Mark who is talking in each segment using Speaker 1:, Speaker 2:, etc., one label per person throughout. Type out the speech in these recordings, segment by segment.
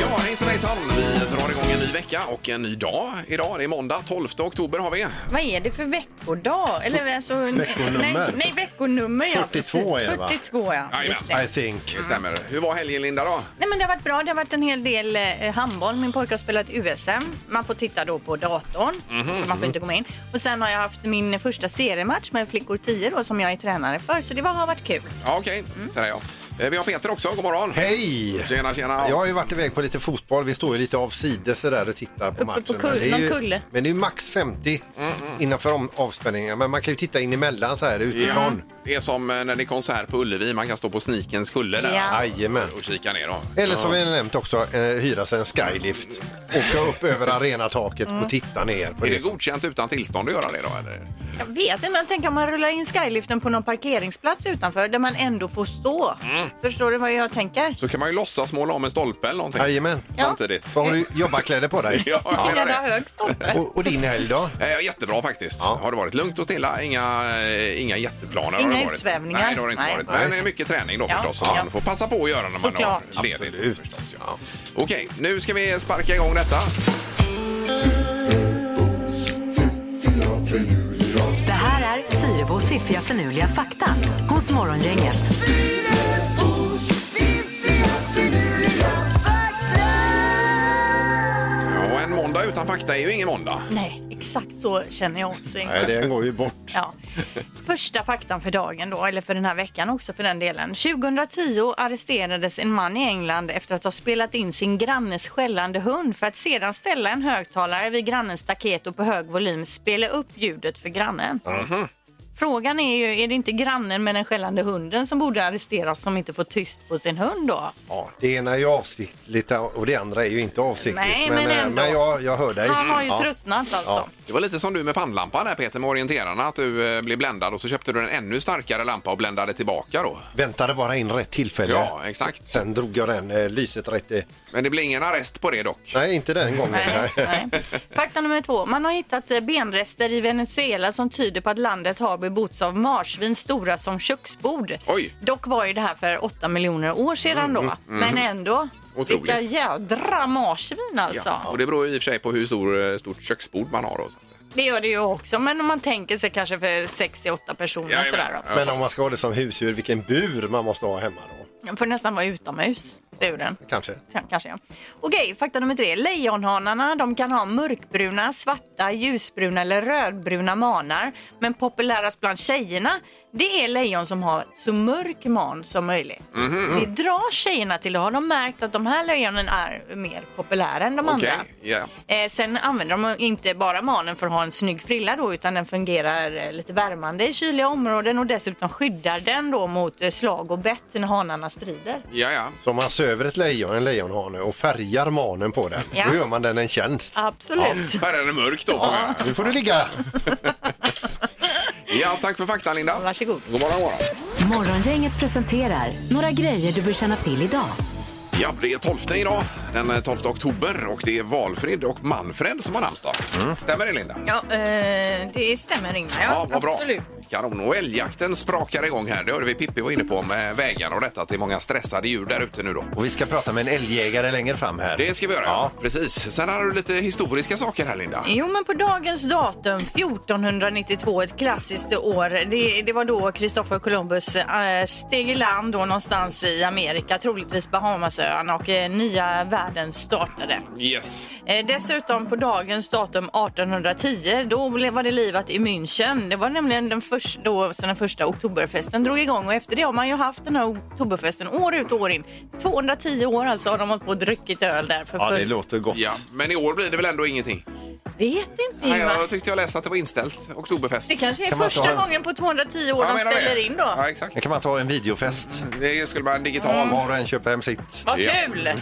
Speaker 1: Ja, hejsan hejsan! Vi drar igång en ny vecka och en ny dag. Idag, det är måndag 12 oktober har vi.
Speaker 2: Vad är det för veckodag? Eller alltså,
Speaker 3: Veckonummer.
Speaker 2: Nej, nej veckonummer ja.
Speaker 3: 42 är det, va?
Speaker 2: 42 ja. Just det.
Speaker 3: I think.
Speaker 1: Det stämmer. Hur var helgen Linda då?
Speaker 2: Nej men det har varit bra. Det har varit en hel del eh, handboll. Min pojke har spelat USM. Man får titta då på datorn.
Speaker 1: Mhm,
Speaker 2: så man får inte komma in. Och sen har jag haft min första seriematch med flickor 10 då som jag är tränare för. Så det var, har varit kul.
Speaker 1: Ja, okej. Sådär ja. Eh, Vi har Peter också, god morgon.
Speaker 3: Hej!
Speaker 1: Tjena, tjena.
Speaker 3: Jag har ju varit iväg på lite fotboll. Vi står ju lite avsides där och tittar på matchen.
Speaker 2: på kull-
Speaker 3: men, det är ju,
Speaker 2: någon kulle.
Speaker 3: men det är ju max 50 innanför om, avspänningen. Men man kan ju titta in emellan så här utifrån.
Speaker 1: Det är som eh, när det är konsert på Ullevi, man kan stå på Snikens kulle där
Speaker 2: Ja.
Speaker 3: Jajamän.
Speaker 1: och kika ner. Då.
Speaker 3: Eller som vi nämnt också, eh, hyra sig en skylift. Åka upp över arenataket
Speaker 2: Mm.
Speaker 3: och titta ner. På
Speaker 1: Är det
Speaker 3: det.
Speaker 1: godkänt utan tillstånd att göra det då? Eller?
Speaker 2: Jag vet inte, men jag tänker om man rullar in skyliften på någon parkeringsplats utanför där man ändå får stå. Förstår du vad jag tänker?
Speaker 1: Mm. Så kan man ju låtsas måla om en stolpe eller någonting
Speaker 3: Jajamän.
Speaker 1: samtidigt.
Speaker 3: Så har du jobbarkläder på dig.
Speaker 1: Ja, jag menar
Speaker 2: Där du
Speaker 1: det.
Speaker 2: har hög stolpe.
Speaker 3: Och, och din helg då?
Speaker 1: Eh, jättebra faktiskt.
Speaker 3: Ja.
Speaker 1: Har det varit lugnt och stilla? Inga, eh, inga jätteplaner?
Speaker 2: Inga
Speaker 1: har det varit.
Speaker 2: utsvävningar.
Speaker 1: Nej, det har det inte
Speaker 2: Nej.
Speaker 1: varit. Men det är mycket träning då
Speaker 2: Ja.
Speaker 1: förstås. Som
Speaker 2: Ja.
Speaker 1: man får passa på att göra när man
Speaker 2: Såklart.
Speaker 1: har ledigt.
Speaker 3: Absolut.
Speaker 1: Förstås, ja. Okej, nu ska vi sparka igång detta.
Speaker 4: Det här är Fyrabos fiffiga förnuliga fakta hos Morgongänget.
Speaker 1: Ja, och en måndag utan fakta är ju ingen måndag.
Speaker 2: Nej, exakt så känner jag också.
Speaker 3: Nej, den går ju bort.
Speaker 2: Ja. Första faktan för dagen då, eller för den här veckan också för den delen. 2010 arresterades en man i England efter att ha spelat in sin grannes skällande hund för att sedan ställa en högtalare vid grannens staket och på hög volym spela upp ljudet för grannen.
Speaker 3: Mhm.
Speaker 2: Frågan är ju, är det inte grannen med den skällande hunden som borde arresteras som inte får tyst på sin hund då?
Speaker 3: Ja, det ena är ju avsiktligt och det andra är ju inte avsiktligt.
Speaker 2: Nej, men
Speaker 3: eh,
Speaker 2: ändå.
Speaker 3: men jag, jag hör dig.
Speaker 2: Han har ju
Speaker 3: Ja.
Speaker 2: tröttnat alltså.
Speaker 3: Ja.
Speaker 1: Det var lite som du med pannlampan där Peter med orienterarna. Att du eh, blev bländad och så köpte du en ännu starkare lampa och bländade tillbaka då.
Speaker 3: Väntade bara in rätt tillfälle.
Speaker 1: Ja, exakt.
Speaker 3: Sen drog jag den eh, lyset rätt i...
Speaker 1: Men det blir ingen arrest på det dock.
Speaker 3: Nej, inte den gången.
Speaker 2: Nej,
Speaker 3: Nej.
Speaker 2: nej. Fakta nummer två. Man har hittat eh, benrester i Venezuela som tyder på att landet har bebotts av marsvin stora som köksbord.
Speaker 1: Oj. Mm,
Speaker 2: Dock var ju det här för 8 miljoner år sedan då. Men ändå.
Speaker 1: Otroligt.
Speaker 2: Vilka jädra marsvin alltså.
Speaker 1: Och det beror ju i och för sig på hur stor, eh, stort köksbord man har då. Så att säga.
Speaker 2: Det gör det ju också. Men om man tänker sig kanske för 68 personer
Speaker 1: Jajamän.
Speaker 2: sådär
Speaker 1: Ja.
Speaker 3: Men om man ska ha det som husdjur, vilken bur man måste ha hemma då?
Speaker 2: då. Den får nästan vara utomhus, buren.
Speaker 3: Kanske.
Speaker 2: Ja, Kanske ja. Okej, fakta nummer tre. Lejonhanarna de kan ha mörkbruna, svarta, ljusbruna eller rödbruna manar. Men populärast bland tjejerna det är lejon som har så mörk man som möjligt. Det drar tjejerna till. Då har de märkt att de här lejonen är mer populära än de
Speaker 1: Okej,
Speaker 2: andra.
Speaker 1: ja.
Speaker 2: Eh, sen använder de inte bara manen för att ha en snygg frilla då utan den fungerar eh, lite värmande i kyliga områden och dessutom skyddar den då mot eh, slag och bett när hanarna strider.
Speaker 1: Ja, ja.
Speaker 3: Så om man söver ett lejon, en lejonhane och färgar manen på den,
Speaker 2: Ja.
Speaker 3: då gör man den en tjänst.
Speaker 2: Absolut.
Speaker 1: Färre än mörkt då. får jag.
Speaker 3: Nu får du ligga!
Speaker 1: Ja, tack för fakta Linda.
Speaker 2: Varsågod.
Speaker 1: God morgon, god morgon.
Speaker 4: Morgongänget presenterar några grejer du bör känna till idag.
Speaker 1: Ja, det är 12 idag, den eh, 12 oktober och det är Valfrid och Manfred som har namnsdag. Stämmer det Linda?
Speaker 2: Ja, eh, det stämmer Ingmar.
Speaker 1: Ja, vad bra.
Speaker 2: Absolut.
Speaker 1: Kanon. Och älgjakten sprakar igång här. Det hörde vi Pippi var inne på med vägarna och detta att det är många stressade djur där ute nu då.
Speaker 3: Och vi ska prata med en älgjägare längre fram här.
Speaker 1: Det ska vi göra. Ja. Precis. Sen har du lite historiska saker här Linda.
Speaker 2: Jo, men på dagens datum 1492, ett klassiskt år, det, det var då Kristoffer Columbus eh, steg i land då någonstans i Amerika, troligtvis Bahamasöarna och eh, nya världen startade.
Speaker 1: Yes.
Speaker 2: Eh, Dessutom på dagens datum 1810, då blev- var det livat i München. Det var nämligen den först, då som den första oktoberfesten drog igång och efter det har man ju haft den här oktoberfesten år ut och år in. 210 år alltså har de hållit på och druckit öl där för
Speaker 3: Ja, det
Speaker 2: full-
Speaker 3: låter gott.
Speaker 1: Ja, men i år blir det väl ändå ingenting?
Speaker 2: Vet inte
Speaker 1: Nej,
Speaker 2: Ingmar.
Speaker 1: jag tyckte jag läste att det var inställt. Oktoberfest.
Speaker 2: Det kanske är
Speaker 3: Kan man
Speaker 2: första
Speaker 3: ta en-
Speaker 2: gången på 210 år
Speaker 1: Ja,
Speaker 2: de
Speaker 1: menar
Speaker 2: ställer
Speaker 1: det.
Speaker 2: in då.
Speaker 1: Ja, exakt.
Speaker 3: Kan man ta en videofest?
Speaker 2: Mm.
Speaker 1: Det skulle vara en digital.
Speaker 3: Var och en köper hem sitt.
Speaker 2: Vad
Speaker 1: Ja.
Speaker 2: kul!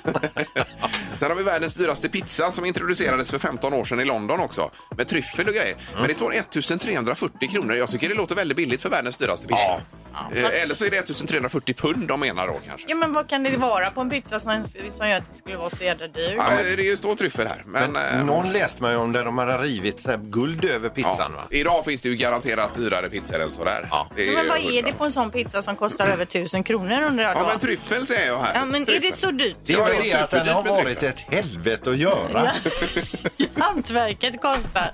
Speaker 1: Sen har vi världens dyraste pizza som introducerades för 15 år sedan i London också. Med tryffel och grejer. Men det står 1340 kronor. Jag tycker det låter väldigt billigt för världens dyraste pizza. Eh,
Speaker 2: fast-
Speaker 1: Eller så är det 1340 pund de menar då kanske.
Speaker 2: Ja, men vad kan det vara på en pizza som, som gör att det skulle vara så jävla dyr?
Speaker 1: Ja, men det är ju står tryffel här. Men, eh,
Speaker 3: Någon läste mig om där de hade rivit så här guld över pizzan va?
Speaker 1: Idag finns det ju garanterat dyrare pizzor än sådär.
Speaker 3: Ja.
Speaker 1: Det
Speaker 2: Ja, men vad
Speaker 1: ju
Speaker 2: är det på en sån pizza som kostar över tusen kronor undrar jag då?
Speaker 1: Ja, men tryffel säger jag här.
Speaker 2: Ja, men är det så dyrt?
Speaker 3: Det är
Speaker 1: Ja,
Speaker 3: bara
Speaker 1: det är
Speaker 3: det att den
Speaker 1: superdyrt
Speaker 3: har
Speaker 1: med
Speaker 3: varit
Speaker 1: tryffel.
Speaker 3: ett helvete att göra.
Speaker 2: Hantverket kostar.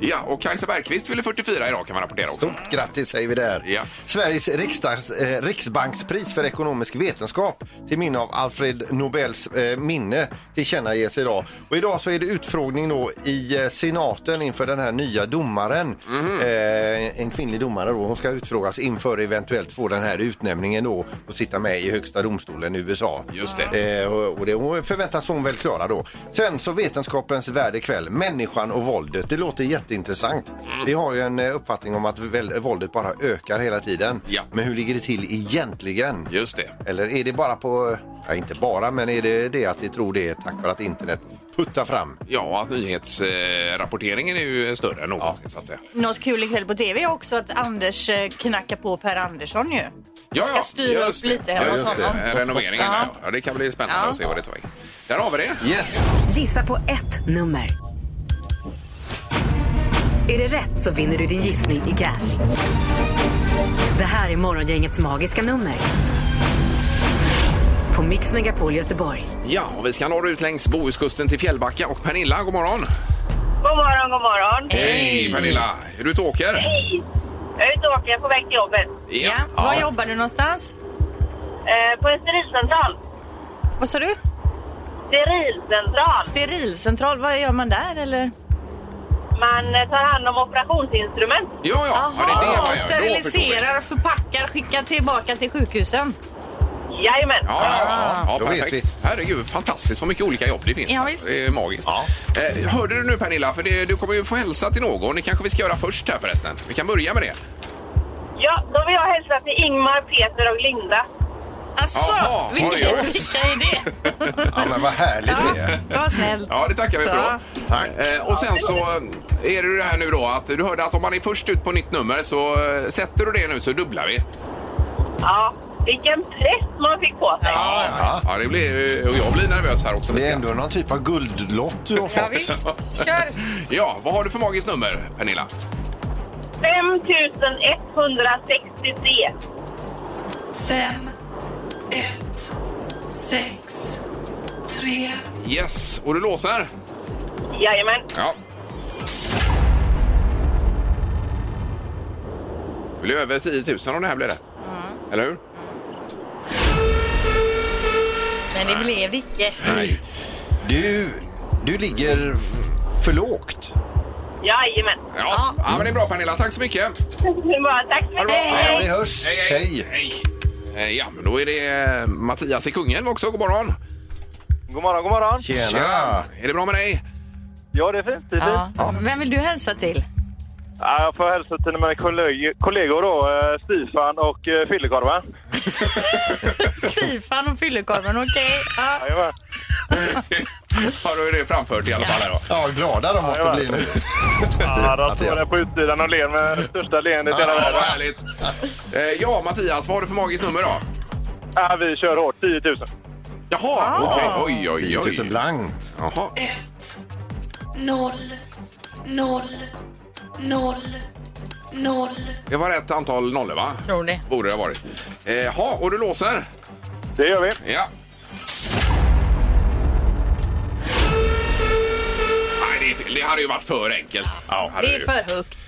Speaker 1: Ja, och Kajsa Bergqvist fyller 44 idag kan man rapportera också.
Speaker 3: Stort grattis säger vi där.
Speaker 1: Ja.
Speaker 3: Sveriges riksdags, eh, riksbankspris för ekonomisk vetenskap till minne av Alfred Nobels eh, minne tillkännages idag. Och idag så är det utfrågning då i eh, senaten inför den här nya domaren.
Speaker 1: Mhm.
Speaker 3: Eh, en kvinnlig domare då. Hon ska utfrågas inför eventuellt få den här utnämningen då och sitta med i högsta domstolen i USA.
Speaker 1: Just det.
Speaker 3: Eh, och och det hon förväntas hon väl klara då. Sen så Vetenskapens värld ikväll, människan och våldet. Det låter jätteintressant.
Speaker 1: Mm.
Speaker 3: Vi har ju en eh, uppfattning om att väl- våldet bara ökar hela tiden.
Speaker 1: Ja.
Speaker 3: Men hur ligger det till egentligen?
Speaker 1: Just det.
Speaker 3: Eller är det bara på, ja inte bara, men är det det att vi tror det är tack vare att internet puttar fram?
Speaker 1: Ja, att nyhetsrapporteringen är ju större än någonsin så att säga.
Speaker 2: Något kul ikväll på tv är också att Anders eh, knackar på Per Andersson ju.
Speaker 1: Ja,
Speaker 2: Ska styra
Speaker 1: just
Speaker 2: upp
Speaker 1: det.
Speaker 2: lite hemma hos
Speaker 1: just det.
Speaker 2: honom.
Speaker 1: Eh, Renoveringen,
Speaker 2: Ja.
Speaker 1: ja. ja. Det kan bli spännande
Speaker 2: Ja.
Speaker 1: att se vad det tar vägen. Där har vi det.
Speaker 3: Yes!
Speaker 4: Gissa på ett nummer. Är det rätt så vinner du din gissning i cash. Det här är Morgongängets magiska nummer. På Mix Megapol Göteborg.
Speaker 1: Ja, och vi ska norrut längs Bohuskusten till Fjällbacka. Och Pernilla, god morgon!
Speaker 5: God morgon, god morgon.
Speaker 1: Hej Pernilla! Är du ute och åker?
Speaker 5: Hej! Jag är ute och åker, jag är på väg till jobbet.
Speaker 2: Ja. Var jobbar du någonstans?
Speaker 5: Eh, på en sterilcentral.
Speaker 2: Vad sa du?
Speaker 5: Sterilcentral.
Speaker 2: Sterilcentral, vad gör man där eller?
Speaker 5: Man eh, tar hand om operationsinstrument.
Speaker 1: Ja, ja. ja, det är det man gör. Då förstår vi.
Speaker 2: steriliserar, förpackar, skickar tillbaka till sjukhusen.
Speaker 5: Jajamän.
Speaker 1: Ja, ja, ja,
Speaker 3: då
Speaker 1: ja
Speaker 3: vet
Speaker 1: perfekt. Herregud, fantastiskt vad mycket olika jobb det finns.
Speaker 2: Ja, visst.
Speaker 1: Det är magiskt.
Speaker 3: Ja.
Speaker 1: Eh, hörde du nu Pernilla, för det, du kommer ju få hälsa till någon. Det kanske vi ska göra först här förresten. Vi kan börja med det.
Speaker 5: Ja, då vill jag hälsa till Ingmar, Peter och Linda.
Speaker 2: Alltså,
Speaker 1: Jaha, oj,
Speaker 2: vilka,
Speaker 1: oj.
Speaker 2: vilka är det?
Speaker 3: Ja men vad härligt det är.
Speaker 2: Vad snällt.
Speaker 1: Ja, det tackar vi för då.
Speaker 2: Ja.
Speaker 1: Tack. Eh, och sen så eh, är det det här nu då att du hörde att om man är först ut på nytt nummer så eh, sätter du det nu så dubblar vi.
Speaker 5: Ja, vilken press man fick på sig.
Speaker 1: ja. ja det blir, eh, och jag blir nervös här också.
Speaker 3: Det är ändå någon typ av guldlott du har
Speaker 2: Ja,
Speaker 3: fått.
Speaker 2: visst. Kör!
Speaker 1: Ja, vad har du för magiskt nummer Pernilla?
Speaker 5: 5163.
Speaker 6: 5, 1, 6, 3,
Speaker 1: Yes, och du låser?
Speaker 5: Jajamän.
Speaker 1: Ja. Det blir över 10 000 om det här blir rätt. Eller hur?
Speaker 2: Men det blev Ricke.
Speaker 3: Nej. Du, du ligger f- för lågt.
Speaker 5: Jajamän.
Speaker 1: Ja. ja, men det är bra Pernilla. Tack så mycket.
Speaker 5: Bara, Tack så
Speaker 1: Ha det bra.
Speaker 5: mycket.
Speaker 3: Ja, vi hörs.
Speaker 1: hej. Eh, Ja, men då är det eh, Mattias i Kungälv också. God morgon.
Speaker 7: God morgon, god morgon.
Speaker 3: Tjena.
Speaker 1: Är det bra med dig?
Speaker 7: Ja, det är fint. Det är fint.
Speaker 2: Ja. Vem vill du hälsa till?
Speaker 7: Ja, jag får hälsa till mina kolleg- kollegor då, eh, Stefan och eh, Fyllekorven.
Speaker 2: Stefan och Fyllekorven, okej. Ja.
Speaker 7: Jajamän.
Speaker 1: Har du det framfört i alla fall? här Då.
Speaker 3: Ja, glada de måste
Speaker 7: Ja,
Speaker 3: bli nu.
Speaker 7: Ja, de står där på utsidan och ler med det största leendet i hela
Speaker 1: Ja, vad
Speaker 7: världen.
Speaker 1: härligt. Eh, Ja, Mattias, vad har du för magiskt nummer då?
Speaker 7: Ja, vi kör hårt. 10 000.
Speaker 1: Jaha, okej. oj,
Speaker 3: 10
Speaker 1: oj,
Speaker 3: 000
Speaker 1: oj.
Speaker 3: blank.
Speaker 1: Jaha.
Speaker 6: 1, 0, 0, 0, 0.
Speaker 1: Det var rätt antal nollor, va?
Speaker 2: Tror det.
Speaker 1: Borde det ha varit. Eh, Jaha, och du låser?
Speaker 7: Det gör vi.
Speaker 1: Ja. Nej, det, är fel. det hade ju varit för enkelt. Ja, hade
Speaker 2: Det är
Speaker 1: ju.
Speaker 2: för högt.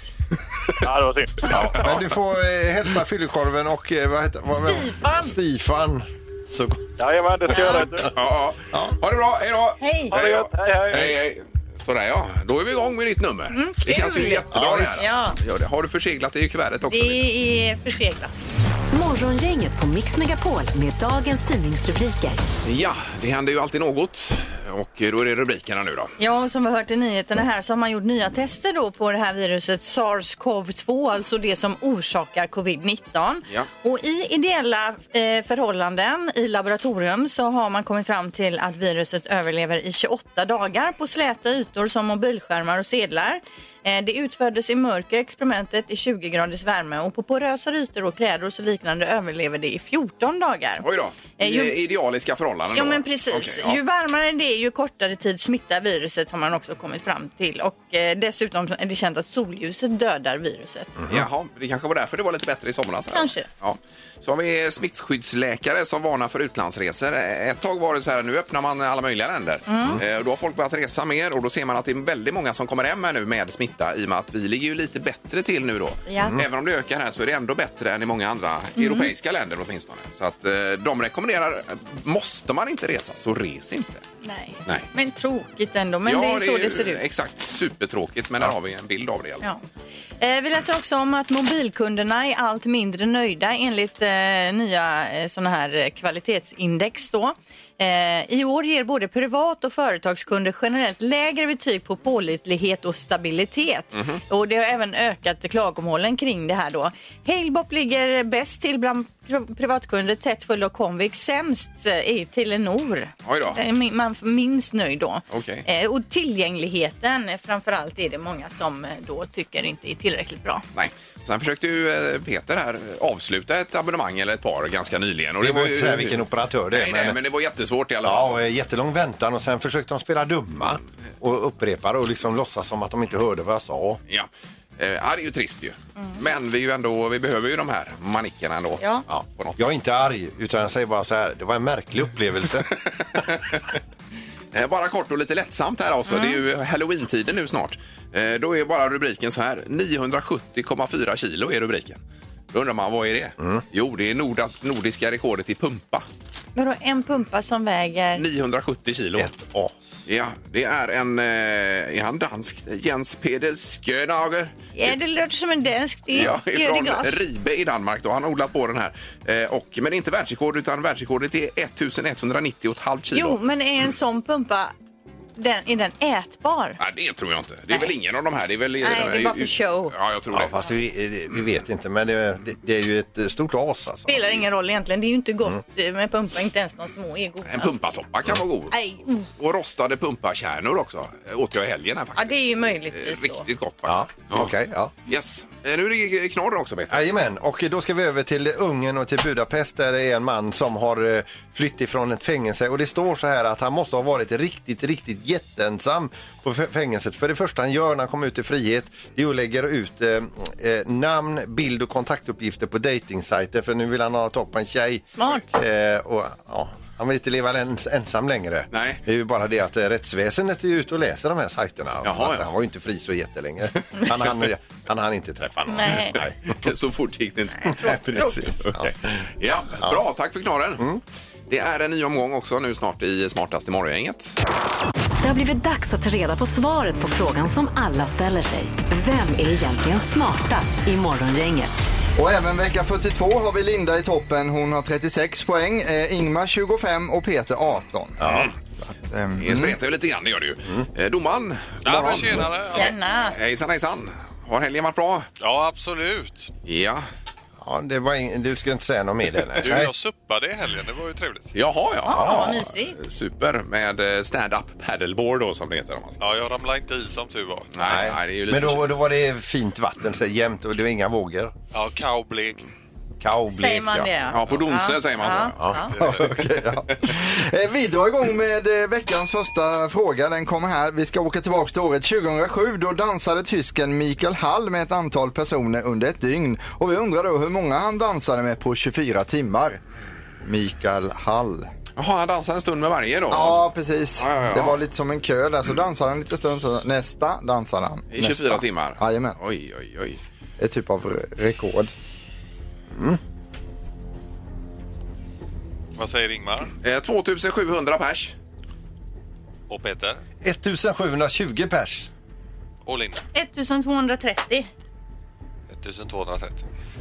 Speaker 7: Ja, det var synd.
Speaker 1: Ja,
Speaker 3: Men du får eh, hälsa Fyllekorven och eh, vad heter, vad, vad-
Speaker 2: Stifan.
Speaker 3: Stifan. Så,
Speaker 7: Jajamän, det ska jag göra.
Speaker 1: ja, ja. Ha det bra, hej då!
Speaker 2: Hej.
Speaker 7: Ha det gött. Hej, hej.
Speaker 1: hej, hej. Sådär ja, då är vi igång med ditt nummer. det känns ju
Speaker 2: Mm, kul.
Speaker 1: jättebra
Speaker 3: Ja,
Speaker 1: det här.
Speaker 2: ja.
Speaker 1: Gör det. Har du förseglat det i kuvertet också? Linda?
Speaker 2: Det är förseglat.
Speaker 4: Morgongänget på Mix Megapol med dagens tidningsrubriker.
Speaker 1: Ja, det händer ju alltid något. Och eh, då är det rubrikerna nu då.
Speaker 2: Ja, och som vi hört i nyheterna här så har man gjort nya tester då på det här viruset SARS-CoV-2, alltså det som orsakar covid-19.
Speaker 1: Ja.
Speaker 2: Och i ideella eh, förhållanden i laboratorium så har man kommit fram till att viruset överlever i 28 dagar på släta ytor som mobilskärmar och sedlar. Eh, Det utfördes i mörker experimentet i 20 graders värme och på porösa ytor och kläder och så liknande överlever det i 14 dagar.
Speaker 1: Oj då,
Speaker 2: Eh,
Speaker 1: i
Speaker 2: ju-
Speaker 1: eh, idealiska förhållanden
Speaker 2: Ja
Speaker 1: då.
Speaker 2: men precis.
Speaker 1: Okej, ja.
Speaker 2: Ju varmare det är ju kortare tid smittar viruset har man också kommit fram till. Och eh, dessutom är det känt att solljuset dödar viruset.
Speaker 1: Jaha, det kanske var därför det var lite bättre i somras.
Speaker 2: Kanske.
Speaker 1: Ja. Så har vi smittskyddsläkare som varnar för utlandsresor. Ett tag var det så här, nu öppnar man alla möjliga länder. Mm. Då har folk börjat resa mer och då ser man att det är väldigt många som kommer hem här nu med smitta i och med att vi ligger ju lite bättre till nu då.
Speaker 2: Ja. Mm.
Speaker 1: Även om det ökar här så är det ändå bättre än i många andra europeiska länder åtminstone. Så att eh, de rekommenderar, eh, måste man inte resa så res inte.
Speaker 2: Nej.
Speaker 1: Nej.
Speaker 2: Men tråkigt ändå. Men det är så det,
Speaker 1: ju
Speaker 2: ser ut.
Speaker 1: Exakt, supertråkigt men där har vi en bild av det. i alla fall.
Speaker 2: Ja. Eh, vi läser också om att mobilkunderna är allt mindre nöjda enligt eh, nya eh, såna här eh, kvalitetsindex. Då. Eh, I år ger både privat och företagskunder generellt lägre betyg på pålitlighet och stabilitet.
Speaker 1: Mhm.
Speaker 2: Och det har även ökat klagomålen kring det här då. Halebop ligger bäst till bland pri- privatkunder, tätt följd av Comvik. Sämst eh, är Telenor.
Speaker 1: Oj då.
Speaker 2: Eh, min- Man minst nöjd då.
Speaker 1: Okej.
Speaker 2: Eh, Och tillgängligheten, eh, framför allt är det många som eh, då tycker inte är tillräckligt bra.
Speaker 1: Nej. Sen försökte ju eh, Peter här eh, avsluta ett abonnemang eller ett par ganska nyligen. Och
Speaker 3: Det var ju inte så här
Speaker 1: ju-
Speaker 3: vilken operatör det
Speaker 1: Nej,
Speaker 3: är.
Speaker 1: nej, men det var jättesvårt i alla fall.
Speaker 3: Ja, och, eh, jättelång väntan och sen försökte de spela dumma och upprepa det och liksom låtsas som att de inte hörde vad jag sa.
Speaker 1: Ja. Eh, Ja, det är ju trist ju. Men vi, är ju ändå, vi behöver ju de här manickerna ändå.
Speaker 2: Ja.
Speaker 1: på något.
Speaker 3: Jag är inte arg, utan jag säger bara så här, det var en märklig upplevelse.
Speaker 1: Eh, Bara kort och lite lättsamt här också. Det är ju halloween-tiden nu snart. Eh, Då är bara rubriken så här. 970,4 kilo är rubriken. Då undrar man, vad är det?
Speaker 3: Mm.
Speaker 1: Jo, det är nordas, nordiska rekordet i pumpa.
Speaker 2: Vadå en pumpa som väger...
Speaker 1: 970 kilo.
Speaker 3: Ett as.
Speaker 1: Ja, det är en... eh, Är han dansk? Jens Peder Skjönager.
Speaker 2: Ja, det låter som en dansk. Det
Speaker 1: Ja,
Speaker 2: det gör det
Speaker 1: ifrån
Speaker 2: glas.
Speaker 1: Ribe i Danmark. Då. Han har odlat på den här. Eh, och, men inte världsrekord, utan världsrekordet är 1190,5 kilo.
Speaker 2: Jo, men är en sån pumpa, den, är den ätbar?
Speaker 1: Nej, det tror jag inte. Det är
Speaker 2: Nej.
Speaker 1: väl ingen av de här. Det är väl,
Speaker 2: Nej, det är bara för show.
Speaker 1: Ja, jag tror
Speaker 3: Ja,
Speaker 1: det.
Speaker 3: fast vi, eh, vi vet inte, men det, det, det är ju ett stort as alltså.
Speaker 2: Spelar ingen roll egentligen. Det är ju inte gott eh, med pumpa, inte ens de små är
Speaker 1: Mm. En
Speaker 2: goda.
Speaker 1: pumpasoppa kan vara god.
Speaker 2: Nej, mm.
Speaker 1: Och rostade pumpakärnor också. Eh, Åt jag i helgen här
Speaker 2: Ja,
Speaker 1: faktiskt.
Speaker 2: det är ju
Speaker 1: Eh,
Speaker 2: möjligtvis då.
Speaker 1: Riktigt gott
Speaker 3: Ja,
Speaker 1: faktiskt.
Speaker 3: okej, ja.
Speaker 1: Yes. Eh, Nu är det knorr också, Peter.
Speaker 3: Jajamän, och då ska vi över till Ungern och till Budapest där det är en man som har eh, flytt ifrån ett fängelse och det står så här att han måste ha varit riktigt, riktigt jätteensam på fä- fängelset. För det första han gör när han kommer ut i frihet det är att lägga ut eh, eh, namn, bild och kontaktuppgifter på dejtingsajter för nu vill han ha tag på en tjej.
Speaker 2: Smart.
Speaker 3: Eh, och, ja, han vill inte leva ens, ensam längre.
Speaker 1: Nej.
Speaker 3: Det är ju bara det att eh, rättsväsendet är ju ute och läser de här sajterna.
Speaker 1: Jaha,
Speaker 3: Så att
Speaker 1: ja.
Speaker 3: Han var ju inte fri så jättelänge. Han hann, han hann inte träffa någon.
Speaker 2: Nej.
Speaker 1: Så fort gick det inte.
Speaker 3: Nej, precis.
Speaker 1: Okej. Ja, bra. Tack för knorren. Det är en ny omgång också nu snart i Smartast i morgongänget.
Speaker 4: Det har blivit dags att ta reda på svaret på frågan som alla ställer sig. Vem är egentligen smartast i Morgongänget?
Speaker 8: Och även vecka 42 har vi Linda i toppen. Hon har 36 poäng, eh, Ingmar 25 och Peter 18.
Speaker 1: Ja.
Speaker 8: Ehm,
Speaker 1: Det spretar ju lite grann, det gör det ju. Mm. Domaren,
Speaker 9: Ja, men
Speaker 1: morgon.
Speaker 9: tjenare.
Speaker 2: Tjena!
Speaker 1: Hejsan, hejsan. Har helgen varit bra?
Speaker 9: Ja, absolut.
Speaker 1: Ja.
Speaker 3: Ja, det var ing- du ska inte säga något mer. Lena.
Speaker 9: Du, jag suppade i helgen. Det var ju trevligt.
Speaker 1: Jaha, ja.
Speaker 2: Ja, vad mysigt.
Speaker 1: Super med eh, stand-up paddleboard då som det heter. Om man säger.
Speaker 9: Ja, jag ramlade inte i som tur var.
Speaker 1: Nej, nej, det är ju lite
Speaker 3: Men då, då var det fint vatten, så jämnt och det var inga vågor.
Speaker 9: Ja, cowblek.
Speaker 3: Cowblek,
Speaker 2: Säger man det?
Speaker 1: Ja, på Donsö säger man så.
Speaker 2: Ja.
Speaker 8: Okej, ja. Eh, Vi drar igång med eh, veckans första fråga. Den kommer här. Vi ska åka tillbaka till året 2007. Då dansade tysken Mikael Hall med ett antal personer under ett dygn. Och vi undrar då hur många han dansade med på 24 timmar. Mikael Hall.
Speaker 1: Jaha, han dansar en stund med varje då?
Speaker 8: Ja, precis.
Speaker 1: Ja, ja, ja.
Speaker 8: Det var lite som en kö där. Så dansade han lite stund, så nästa dansade han.
Speaker 1: I 24
Speaker 8: Nästa.
Speaker 1: timmar?
Speaker 8: Jajamän.
Speaker 1: Oj, oj, oj.
Speaker 8: Ett typ av re- rekord.
Speaker 9: Vad säger Ingmar?
Speaker 1: Eh, 2700 pers.
Speaker 9: Och Peter?
Speaker 3: 1720 pers.
Speaker 9: Och Linda?
Speaker 2: 1230.
Speaker 9: 1230.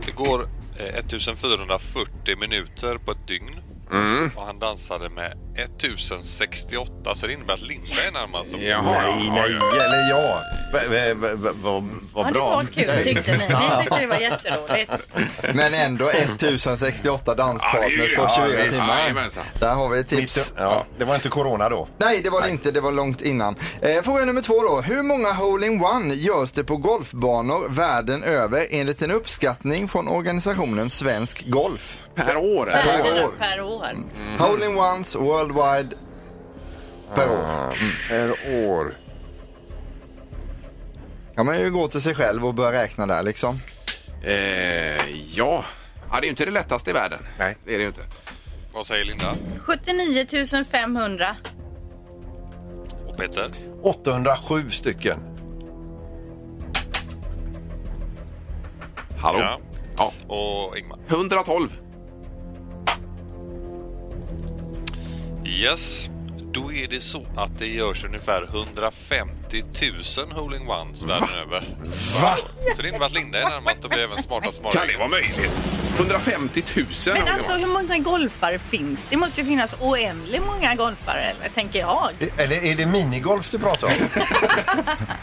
Speaker 9: Det går eh, 1440 minuter på ett dygn.
Speaker 1: Mm.
Speaker 9: Och han dansade med 1068 så det innebär att Linda är närmast.
Speaker 3: nej, nej, eller ja. Vad
Speaker 9: Ja, det
Speaker 3: bra.
Speaker 9: var kul,
Speaker 3: Nej.
Speaker 9: tyckte ni.
Speaker 3: Ja.
Speaker 9: Ni tyckte det var jätteroligt.
Speaker 8: Men ändå 1068 danspartner på
Speaker 3: Ja,
Speaker 8: 24
Speaker 3: visst.
Speaker 8: timmar.
Speaker 3: Jajamensan.
Speaker 8: Där har vi ett tips.
Speaker 3: Ja, det var inte corona då.
Speaker 8: Nej, det var det inte. Det var långt innan. Eh, fråga nummer två då. Hur många hole-in-one görs det på golfbanor världen över enligt en uppskattning från organisationen Svensk Golf?
Speaker 1: Per år?
Speaker 2: Världen upp per år.
Speaker 8: Hole-in-ones worldwide per år.
Speaker 3: Per år.
Speaker 8: kan man ju gå till sig själv och börja räkna där liksom.
Speaker 1: Eh, ja. ja, det är ju inte det lättaste i världen. Nej. Det är det ju inte.
Speaker 9: Vad säger Linda?
Speaker 2: 79 500.
Speaker 9: Och Peter?
Speaker 3: 807 stycken.
Speaker 1: Hallå?
Speaker 9: Ja.
Speaker 1: ja.
Speaker 9: Och Ingmar?
Speaker 1: 112.
Speaker 9: Yes. Då är det så att det görs ungefär 150 000 hole-in-ones världen över.
Speaker 1: Va?
Speaker 9: Så det innebär att Linda är närmast och blir även smartast morgon.
Speaker 1: Kan det vara möjligt? 150 000
Speaker 2: Men alltså hur många golfare finns det? Det måste ju finnas oändligt många golfare, eller, tänker jag.
Speaker 3: Eller är det minigolf du pratar om?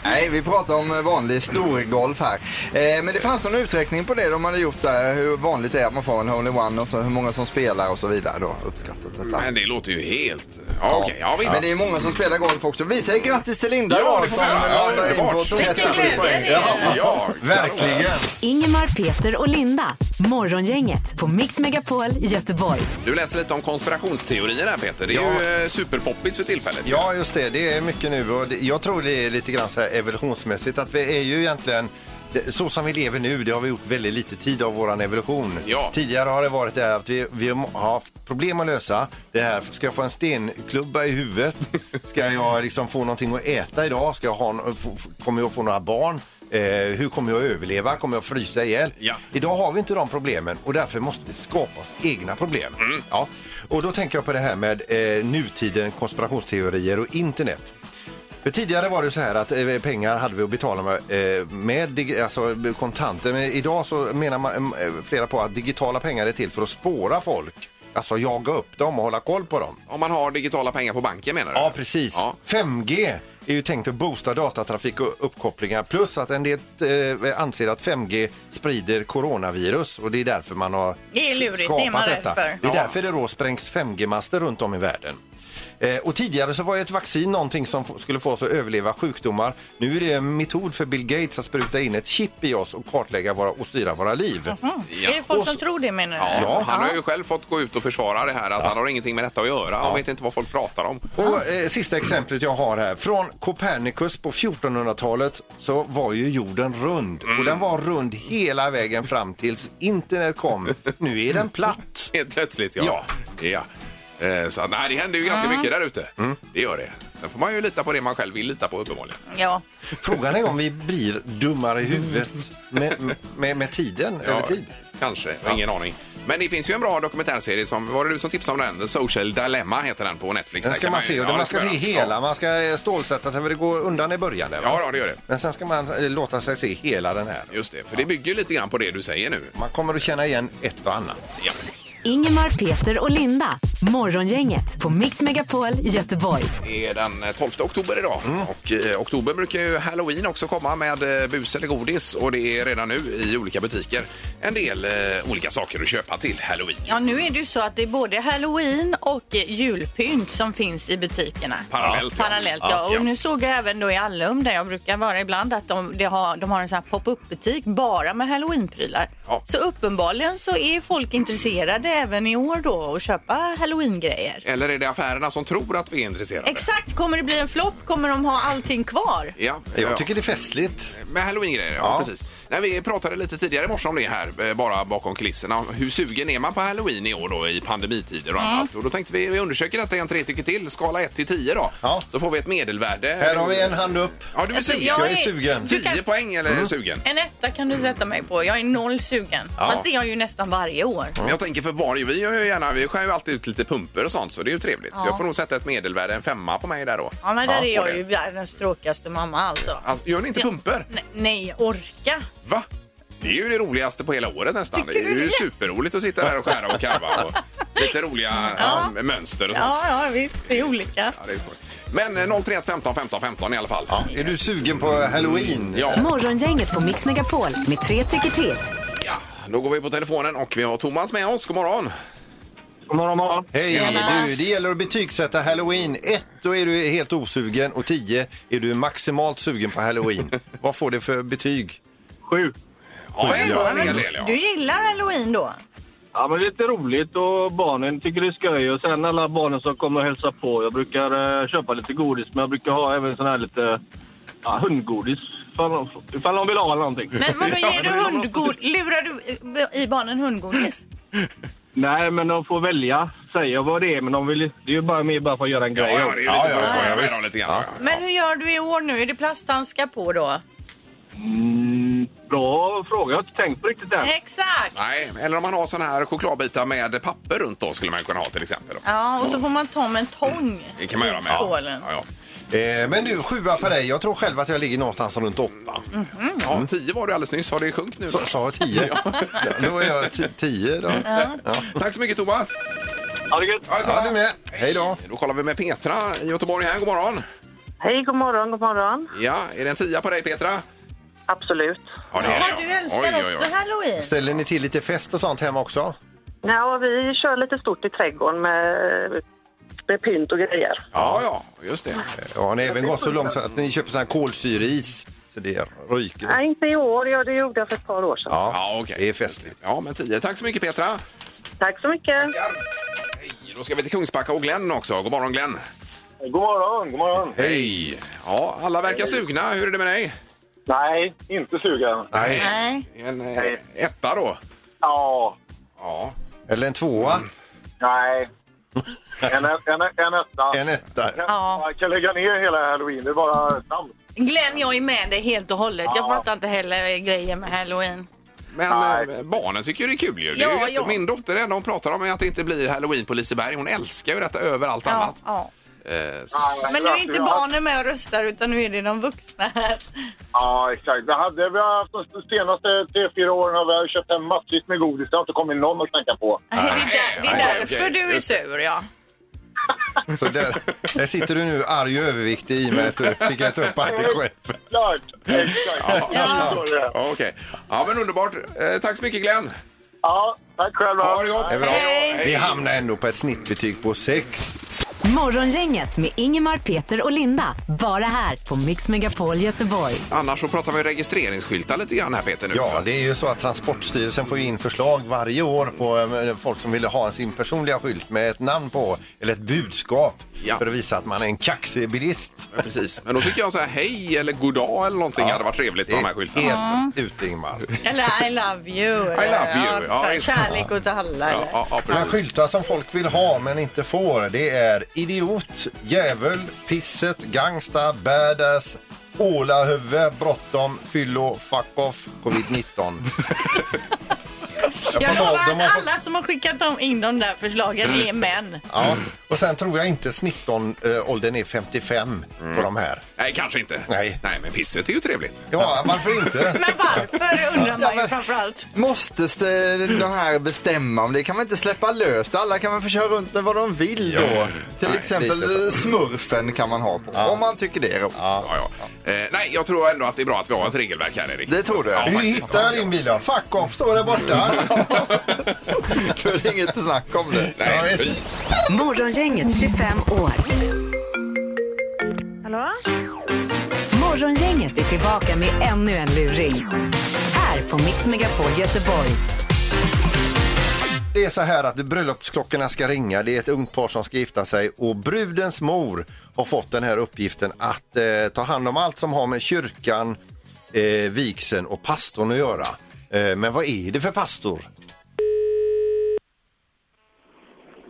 Speaker 8: Nej, vi pratar om eh, vanlig storgolf här. Eh, men det fanns någon uträkning på det de hade gjort där, hur vanligt det är att man får en hole-in-one och så hur många som spelar och så vidare då, uppskattat detta.
Speaker 1: Men det låter ju helt... Ja, okej. Ja, visst.
Speaker 8: Men det är många som spelar golf också. Vi säger grattis till Linda
Speaker 1: Ja,
Speaker 8: då,
Speaker 1: det får
Speaker 8: som
Speaker 1: vi göra. Ja,
Speaker 8: landar in på
Speaker 1: underbart.
Speaker 8: 30
Speaker 1: Vilken glädje
Speaker 8: poäng.
Speaker 1: det är. Ja,
Speaker 8: verkligen.
Speaker 4: Ingemar, Peter och Linda. Morgongänget på Mix Megapol Göteborg.
Speaker 1: Du läser lite om konspirationsteorier här Peter. Det är ju eh, superpoppis för tillfället.
Speaker 3: Ja, just det. Det är mycket nu. Och det- jag tror det är lite grann så här evolutionsmässigt att vi är ju egentligen det- så som vi lever nu, det har vi gjort väldigt lite tid av våran evolution.
Speaker 1: Ja.
Speaker 3: Tidigare har det varit det här att vi, vi har haft problem att lösa. Det här, ska jag få en stenklubba i huvudet? Ska jag liksom få någonting att äta idag? Ska jag ha, en- få- få- kommer jag få några barn? Eh, hur kommer jag att överleva? Kommer jag att frysa ihjäl?
Speaker 1: Ja.
Speaker 3: Idag har vi inte de problemen och därför måste vi skapa oss egna problem. Ja. Och då tänker jag på det här med eh, nutiden, konspirationsteorier och internet. För tidigare var det så här att eh, pengar hade vi att betala med, eh, med dig- alltså, kontanter. Men idag så menar man, eh, flera på att digitala pengar är till för att spåra folk. Alltså jaga upp dem och hålla koll på dem.
Speaker 1: Om man har digitala pengar på banken menar du?
Speaker 3: Ja, precis. 5G är ju tänkt att boosta datatrafik och uppkopplingar plus att en del eh, anser att 5G sprider coronavirus och det är därför man har
Speaker 2: Det är lurigt, det är man
Speaker 3: skapat
Speaker 2: rädd
Speaker 3: detta.
Speaker 2: för.
Speaker 3: Det är därför det då sprängs 5G-master runt om i världen. Eh, och tidigare så var ju ett vaccin någonting som f- skulle få oss att överleva sjukdomar. Nu är det en metod för Bill Gates att spruta in ett chip i oss och kartlägga våra, och styra våra liv.
Speaker 1: Ja.
Speaker 2: Är det folk som tror det menar du?
Speaker 1: Ja, han har ju själv fått gå ut och försvara det här att han har ingenting med detta att göra. Han vet inte vad folk pratar om.
Speaker 3: Och, eh, sista exemplet jag har här. Från Copernicus på 1400-talet så var ju jorden rund.
Speaker 1: Mm.
Speaker 3: Och den var rund hela vägen fram tills internet kom. Nu är den platt.
Speaker 1: Helt plötsligt ja. Ja. Eh, Så nej, det händer ju ganska mycket där ute.
Speaker 3: Mm.
Speaker 1: Det gör det. Sen får man ju lita på det man själv vill lita på uppenbarligen.
Speaker 2: Ja.
Speaker 3: Frågan är om vi blir dummare i huvudet med, med, med tiden, över tid.
Speaker 1: Kanske, jag har ingen aning. Men det finns ju en bra dokumentärserie som, var det du som tipsade om den? The Social Dilemma heter den på Netflix.
Speaker 3: Den
Speaker 1: Där
Speaker 3: ska
Speaker 1: kan
Speaker 3: man se,
Speaker 1: ju-
Speaker 3: och
Speaker 1: ja,
Speaker 3: den- man
Speaker 1: det
Speaker 3: ska se
Speaker 1: man göra.
Speaker 3: hela, man ska eh, stålsätta sig för det går undan i början. Där, va?
Speaker 1: Ja, ja, det gör det.
Speaker 3: Men sen ska man eh, låta sig se hela den här.
Speaker 1: Just det, för det bygger ju lite grann på det du säger nu.
Speaker 3: Man kommer att känna igen ett och annat.
Speaker 1: Ja.
Speaker 4: Ingemar, Peter och Linda. Morgongänget på Mix Megapol Göteborg.
Speaker 1: Det är den eh, 12 oktober idag.
Speaker 3: Mm.
Speaker 1: Och eh, oktober brukar ju halloween också komma med eh, bus eller godis. Och det är redan nu i olika butiker en del eh, olika saker att köpa till halloween.
Speaker 2: Ja, nu är det ju så att det är både halloween och eh, julpynt som finns i butikerna.
Speaker 1: Parallellt, ja.
Speaker 2: ja. Parallellt, ja.
Speaker 1: Ja, ja.
Speaker 2: Och nu såg jag även då i Allum, där jag brukar vara ibland, att de, de, har, de har en sån här pop-up-butik bara med halloweenprylar. Så uppenbarligen så är folk intresserade även i år då att köpa halloween-grejer.
Speaker 1: Eller är det affärerna som tror att vi är intresserade?
Speaker 2: Exakt, kommer det bli en flopp? Kommer de ha allting kvar?
Speaker 1: Ja,
Speaker 3: Jag tycker det är festligt.
Speaker 1: Med halloween-grejer, ja,
Speaker 3: Ja.
Speaker 1: precis. Nej, vi pratade lite tidigare i morse om det här, eh, bara bakom kulisserna. Hur sugen är man på halloween i år då i pandemitider och annat? Och då tänkte vi, vi undersöker detta i en tre tycker till, skala 1 till 10 då. Så får vi ett medelvärde.
Speaker 3: Här har vi en hand upp.
Speaker 1: Ja, du är
Speaker 2: Alltså,
Speaker 1: sugen.
Speaker 2: jag Jag är är- sugen. du
Speaker 1: 10
Speaker 2: kan-
Speaker 1: poäng eller sugen?
Speaker 2: En etta kan du sätta mig på. Jag är noll sugen.
Speaker 1: Ja.
Speaker 2: Fast det är jag ju nästan varje år.
Speaker 1: Men jag tänker för barn, vi gör ju gärna, vi skär ju alltid ut lite pumper och sånt så det är ju trevligt. Så
Speaker 2: Ja.
Speaker 1: jag får nog sätta ett medelvärde, en femma på mig där då.
Speaker 2: Ja, men där är
Speaker 1: på
Speaker 2: jag
Speaker 1: det.
Speaker 2: ju världens tråkigaste mamma alltså.
Speaker 1: Alltså, gör ni inte pumper?
Speaker 2: Nej, nej, orka.
Speaker 1: Va? Det är ju det roligaste på hela året nästan. det är ju superroligt att sitta där och skära och karva. Och... lite roliga
Speaker 2: Ja.
Speaker 1: eh, mönster och sånt.
Speaker 2: Ja, ja, visst. Det är olika.
Speaker 1: Ja, det är skoj. Men eh, 031 15 15 15 i alla fall.
Speaker 3: Är du sugen på halloween?
Speaker 1: Ja.
Speaker 4: Morgongänget på Mix Megapol med tre tycker till.
Speaker 1: Då går vi på telefonen och vi har Thomas med oss. God morgon!
Speaker 3: God morgon, morgon. Hej!
Speaker 1: Tjena.
Speaker 3: Du, det gäller att betygsätta halloween. 1, då är du helt osugen och 10 är du maximalt sugen på halloween. Vad får det för betyg? 7.
Speaker 1: Ja, ändå en hel del.
Speaker 2: Du gillar halloween då?
Speaker 7: Ja, men det är lite roligt och barnen tycker det är skoj. Och sen alla barnen som kommer och hälsar på. Jag brukar eh, köpa lite godis, men jag brukar ha även sån här lite ja, hundgodis. Ifall de- Ifall de vill ha eller någonting.
Speaker 2: Men vadå, ger du hundgod... Lurar du eh, i barnen hundgodis?
Speaker 7: Nej, men de får välja. Säga vad det är, men de vill, det är ju bara mer bara för att göra en grej.
Speaker 1: ja, det är ju lite för att skoja med dem lite grann.
Speaker 2: Men hur gör du i år nu? Är det plasthandskar på då?
Speaker 7: Mm, bra fråga. Jag har inte tänkt på riktigt än.
Speaker 2: Exakt!
Speaker 1: Nej, eller om man har såna här chokladbitar med papper runt då skulle man ju kunna ha till exempel. Då.
Speaker 2: Ja, och så får man ta med en tång.
Speaker 1: Det kan man göra med.
Speaker 2: Skålen.
Speaker 1: Ja,
Speaker 3: Eh, men du, sjua på dig. Jag tror själv att jag ligger någonstans runt åtta.
Speaker 1: Ja, tio var du alldeles nyss. Har det sjunkit nu? Då?
Speaker 3: Sa jag tio? ja, då är jag t- tio då.
Speaker 1: Ja.
Speaker 3: Ja.
Speaker 1: Tack så mycket Thomas!
Speaker 7: Ha det gött!
Speaker 1: Ja,
Speaker 3: du med! Hej då!
Speaker 1: Då kollar vi med Petra i Göteborg här. God morgon!
Speaker 10: Hej, god morgon, god morgon.
Speaker 1: Ja, är det en tia på dig Petra?
Speaker 10: Absolut.
Speaker 1: Ja, det är det.
Speaker 2: Har du älskar också halloween?
Speaker 3: Ställer ni till lite fest och sånt hemma också?
Speaker 10: Ja, vi kör lite stort i trädgården med, med pynt och grejer.
Speaker 1: Ja, ja, just det.
Speaker 3: Ja, ni har även gått så långt så att ni köper sån här kolsyreis. Så det ryker.
Speaker 10: Nej, inte i år. Ja, det gjorde jag för ett par år sedan.
Speaker 3: Ja,
Speaker 1: Det är festligt. Ja, men tio. Tack så mycket Petra!
Speaker 10: Tack så mycket.
Speaker 1: Då ska vi till Kungsbacka och Glenn också. God morgon Glenn!
Speaker 7: God morgon, god morgon.
Speaker 1: Hej! Ja, alla verkar sugna. Hur är det med dig?
Speaker 7: Nej, inte sugen.
Speaker 1: Nej. En eh, etta då?
Speaker 7: Ja.
Speaker 1: Ja.
Speaker 3: Eller en tvåa?
Speaker 7: Nej. En, en, en etta.
Speaker 3: En etta.
Speaker 7: Ja. Jag kan lägga ner hela halloween. Det är bara sams.
Speaker 2: Glenn, jag är med dig helt och hållet. Jag
Speaker 7: Ja.
Speaker 2: fattar inte heller grejen med halloween.
Speaker 1: Men eh, barnen tycker ju det är kul ju. Det är ju
Speaker 2: Ja,
Speaker 1: jätte-
Speaker 2: ja.
Speaker 1: Min dotter, det enda hon pratar om är att det inte blir halloween på Liseberg. Hon älskar ju detta över allt annat.
Speaker 2: Ja.
Speaker 1: Eh, så-
Speaker 2: Men nu är inte barnen med och röstar utan nu är det de vuxna här.
Speaker 7: Ja, exakt. Det hade vi har haft de senaste tre, fyra åren har vi köpt en massvis med godis. Det har inte kommit någon att knacka på.
Speaker 2: Det är därför du är sur, ja.
Speaker 3: Så där, där sitter du nu arg och överviktig i och med att du fick äta upp allt dig själv.
Speaker 7: Klart!
Speaker 1: Ja. Ja. Okej. Ja, men underbart. Eh, tack så mycket Glenn.
Speaker 7: Ja, tack själv.
Speaker 1: Ha det gott.
Speaker 3: Det är bra.
Speaker 1: Hej.
Speaker 3: Vi hamnar ändå på ett snittbetyg på sex.
Speaker 4: Morgongänget med Ingemar, Peter och Linda. Bara här på Mix Megapol Göteborg.
Speaker 1: Annars så pratar vi registreringsskyltar lite grann här Peter nu.
Speaker 3: Ja, det är ju så att Transportstyrelsen får ju in förslag varje år på eh, folk som vill ha sin personliga skylt med ett namn på, eller ett budskap, för att visa att man är en kaxig bilist.
Speaker 1: Precis, men då tycker jag så här hej eller god dag eller någonting hade varit trevligt med de här skyltarna.
Speaker 2: Ja.
Speaker 3: Helt ute Ingmar.
Speaker 2: Eller I love you. Eller,
Speaker 1: I love you, ja,
Speaker 2: så här,
Speaker 1: visst.
Speaker 2: kärlek åt alla. eller?
Speaker 3: Men skyltar som folk vill ha men inte får, det är idiot, djävul, pisset, gangsta, badass, ålahuvud, bråttom, fyllo, fuck off, covid-19.
Speaker 2: Jag
Speaker 3: får ta-
Speaker 2: lovar
Speaker 3: de har
Speaker 2: att
Speaker 3: fått-
Speaker 2: alla som har skickat dem in de där förslagen är män.
Speaker 3: Ja. Och sen tror jag inte snittåldern är 55 på de här.
Speaker 1: Nej, kanske inte.
Speaker 3: Nej.
Speaker 1: Nej, men pisset är ju trevligt.
Speaker 3: Ja, varför inte?
Speaker 2: Men varför undrar man ju framförallt.
Speaker 8: Måste st- de här bestämma om det? Kan man inte släppa löst? Alla kan väl få köra runt med vad de vill då?
Speaker 1: Ja.
Speaker 8: Till
Speaker 1: Nej,
Speaker 8: exempel
Speaker 1: lite så.
Speaker 8: eh, smurfen kan man ha på. Om man tycker det är roligt.
Speaker 1: Ja, ja. Eh, nej, jag tror ändå att det är bra att vi har ett regelverk här, Erik.
Speaker 8: Det tror du?
Speaker 1: Ja,
Speaker 3: Du
Speaker 1: faktiskt.
Speaker 3: hittar din bil, ja. Fuck off står där borta.
Speaker 8: Då är det inget snack om det.
Speaker 1: Nej, fy.
Speaker 4: Morgongänget 25 år.
Speaker 10: Hallå?
Speaker 4: Morgongänget är tillbaka med ännu en luring. Här på Mix Megapol Göteborg.
Speaker 3: Det är så här att bröllopsklockorna ska ringa. Det är ett ungt par som ska gifta sig och brudens mor har fått den här uppgiften att eh, ta hand om allt som har med kyrkan, eh, vigseln och pastorn att göra. Eh, men vad är det för pastor?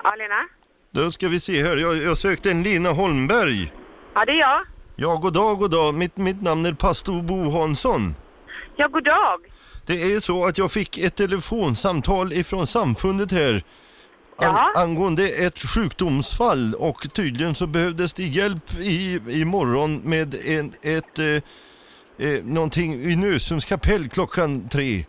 Speaker 10: Ja, Lena?
Speaker 11: Då ska vi se här. Jag, jag sökte en Lina Holmberg.
Speaker 10: Ja, det är jag.
Speaker 11: Ja, god dag, god dag. Mitt, mitt namn är pastor Bo Hansson.
Speaker 10: Ja, god dag.
Speaker 11: Det är så att jag fick ett telefonsamtal ifrån samfundet här an- angående ett sjukdomsfall och tydligen så behövdes det hjälp i, imorgon med en, ett eh, eh, någonting i Nösums kapell klockan tre.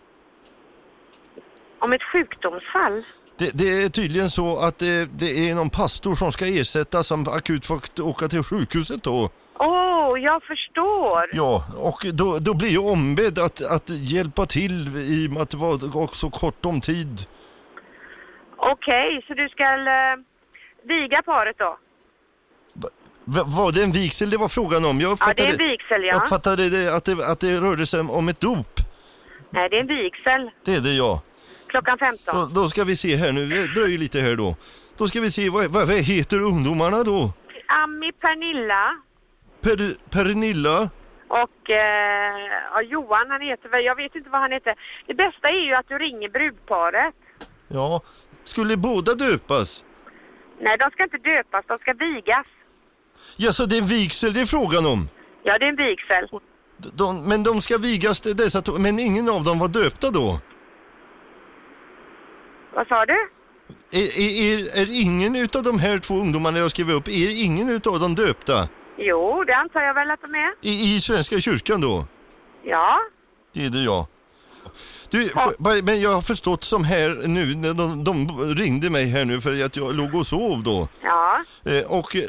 Speaker 10: Om ett sjukdomsfall.
Speaker 11: Det, det är tydligen så att det, det är någon pastor som ska ersätta som akut får åka till sjukhuset då.
Speaker 10: Åh, oh, jag förstår.
Speaker 11: Ja, och då, då blir jag ombedd att, att hjälpa till i och med att det var också kort om tid.
Speaker 10: Okej, så du ska eh, viga paret då?
Speaker 11: Va- var det en vigsel det var frågan om? Jag
Speaker 10: Ja, det
Speaker 11: uppfattade,
Speaker 10: är en vigsel,
Speaker 11: Jag
Speaker 10: ja.
Speaker 11: uppfattade det, att, det, att det rörde sig om ett dop.
Speaker 10: Nej, det är en vigsel.
Speaker 11: Det är det ja.
Speaker 10: Klockan 15.
Speaker 11: Då, då ska vi se här nu, det dröjer lite här då. Då ska vi se, vad, vad, vad heter ungdomarna då?
Speaker 10: Ami, Pernilla
Speaker 11: Per, Pernilla?
Speaker 10: och eh, ja, Johan, han heter väl, jag vet inte vad han heter. Det bästa är ju att du ringer brudparet.
Speaker 11: Ja. Skulle båda döpas?
Speaker 10: Nej, de ska inte döpas, de ska vigas.
Speaker 11: Ja, så det är vigsel det är frågan om?
Speaker 10: Ja, det är en vigsel.
Speaker 11: De, men de ska vigas till dessa to- men ingen av dem var döpta då?
Speaker 10: Vad sa du?
Speaker 11: Är, är, är, är ingen utav de här två ungdomarna jag skrev upp, är ingen utav dem döpta?
Speaker 10: Jo, det antar jag väl att de är.
Speaker 11: I, i Svenska kyrkan då?
Speaker 10: Ja.
Speaker 11: Det är det jag. Du, för, bara- men jag har förstått som här nu, när de, de ringde mig här nu för att jag låg och sov då.
Speaker 10: Ja.
Speaker 11: Eh, Och eh,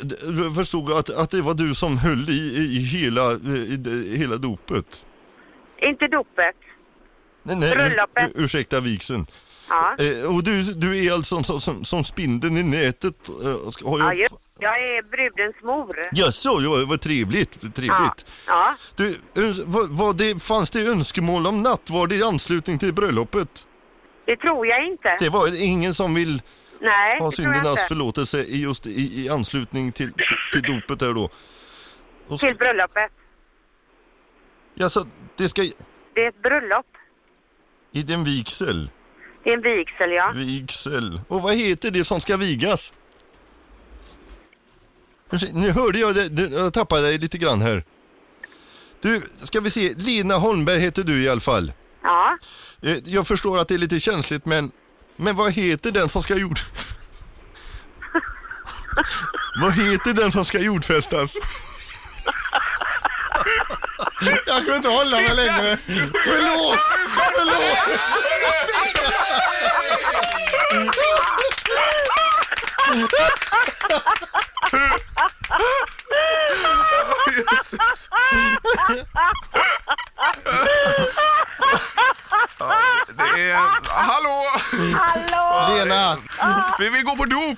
Speaker 11: jag förstod att, att det var du som höll i, i, hela, eh, i, i hela dopet.
Speaker 10: Inte dopet.
Speaker 11: Nej, nej, ur-
Speaker 10: Bröllopet.
Speaker 11: ur- ursäkta vigseln.
Speaker 10: Ja.
Speaker 11: Eh, och du, du är alltså som, som, som spindeln i nätet. Eh, ska- har
Speaker 10: Ja,
Speaker 11: jag...
Speaker 10: just. Jag är brudens mor.
Speaker 11: Jaså, ja, vad trevligt. vad trevligt.
Speaker 10: Ja.
Speaker 11: Du, öns- vad, vad det, fanns det önskemål om nattvard i anslutning till bröllopet?
Speaker 10: Det tror jag inte.
Speaker 11: Det var ingen som vill
Speaker 10: Nej,
Speaker 11: ha
Speaker 10: det tror jag
Speaker 11: syndernas
Speaker 10: inte.
Speaker 11: förlåtelse i just i, i anslutning till, till dopet här då. Och
Speaker 10: Till bröllopet.
Speaker 11: Jaså, det ska...
Speaker 10: Det är ett bröllop.
Speaker 11: I den vigsel?
Speaker 10: Det är en vigsel, ja.
Speaker 11: Vigsel. Och vad heter det som ska vigas? Ursäkta, Nu hörde jag det, det, jag tappade dig lite grann här. Du, ska vi se, Lina Holmberg heter du i alla fall.
Speaker 10: Ja.
Speaker 11: Eh, Jag förstår att det är lite känsligt men, men vad heter den som ska jord... vad heter den som ska jordfästas? Jag kunde inte hålla mig längre. Förlåt! Förlåt!
Speaker 6: Jesus.
Speaker 12: Det är... Hallå!
Speaker 6: Hallå!
Speaker 11: Lena!
Speaker 12: Vi vill gå på dop!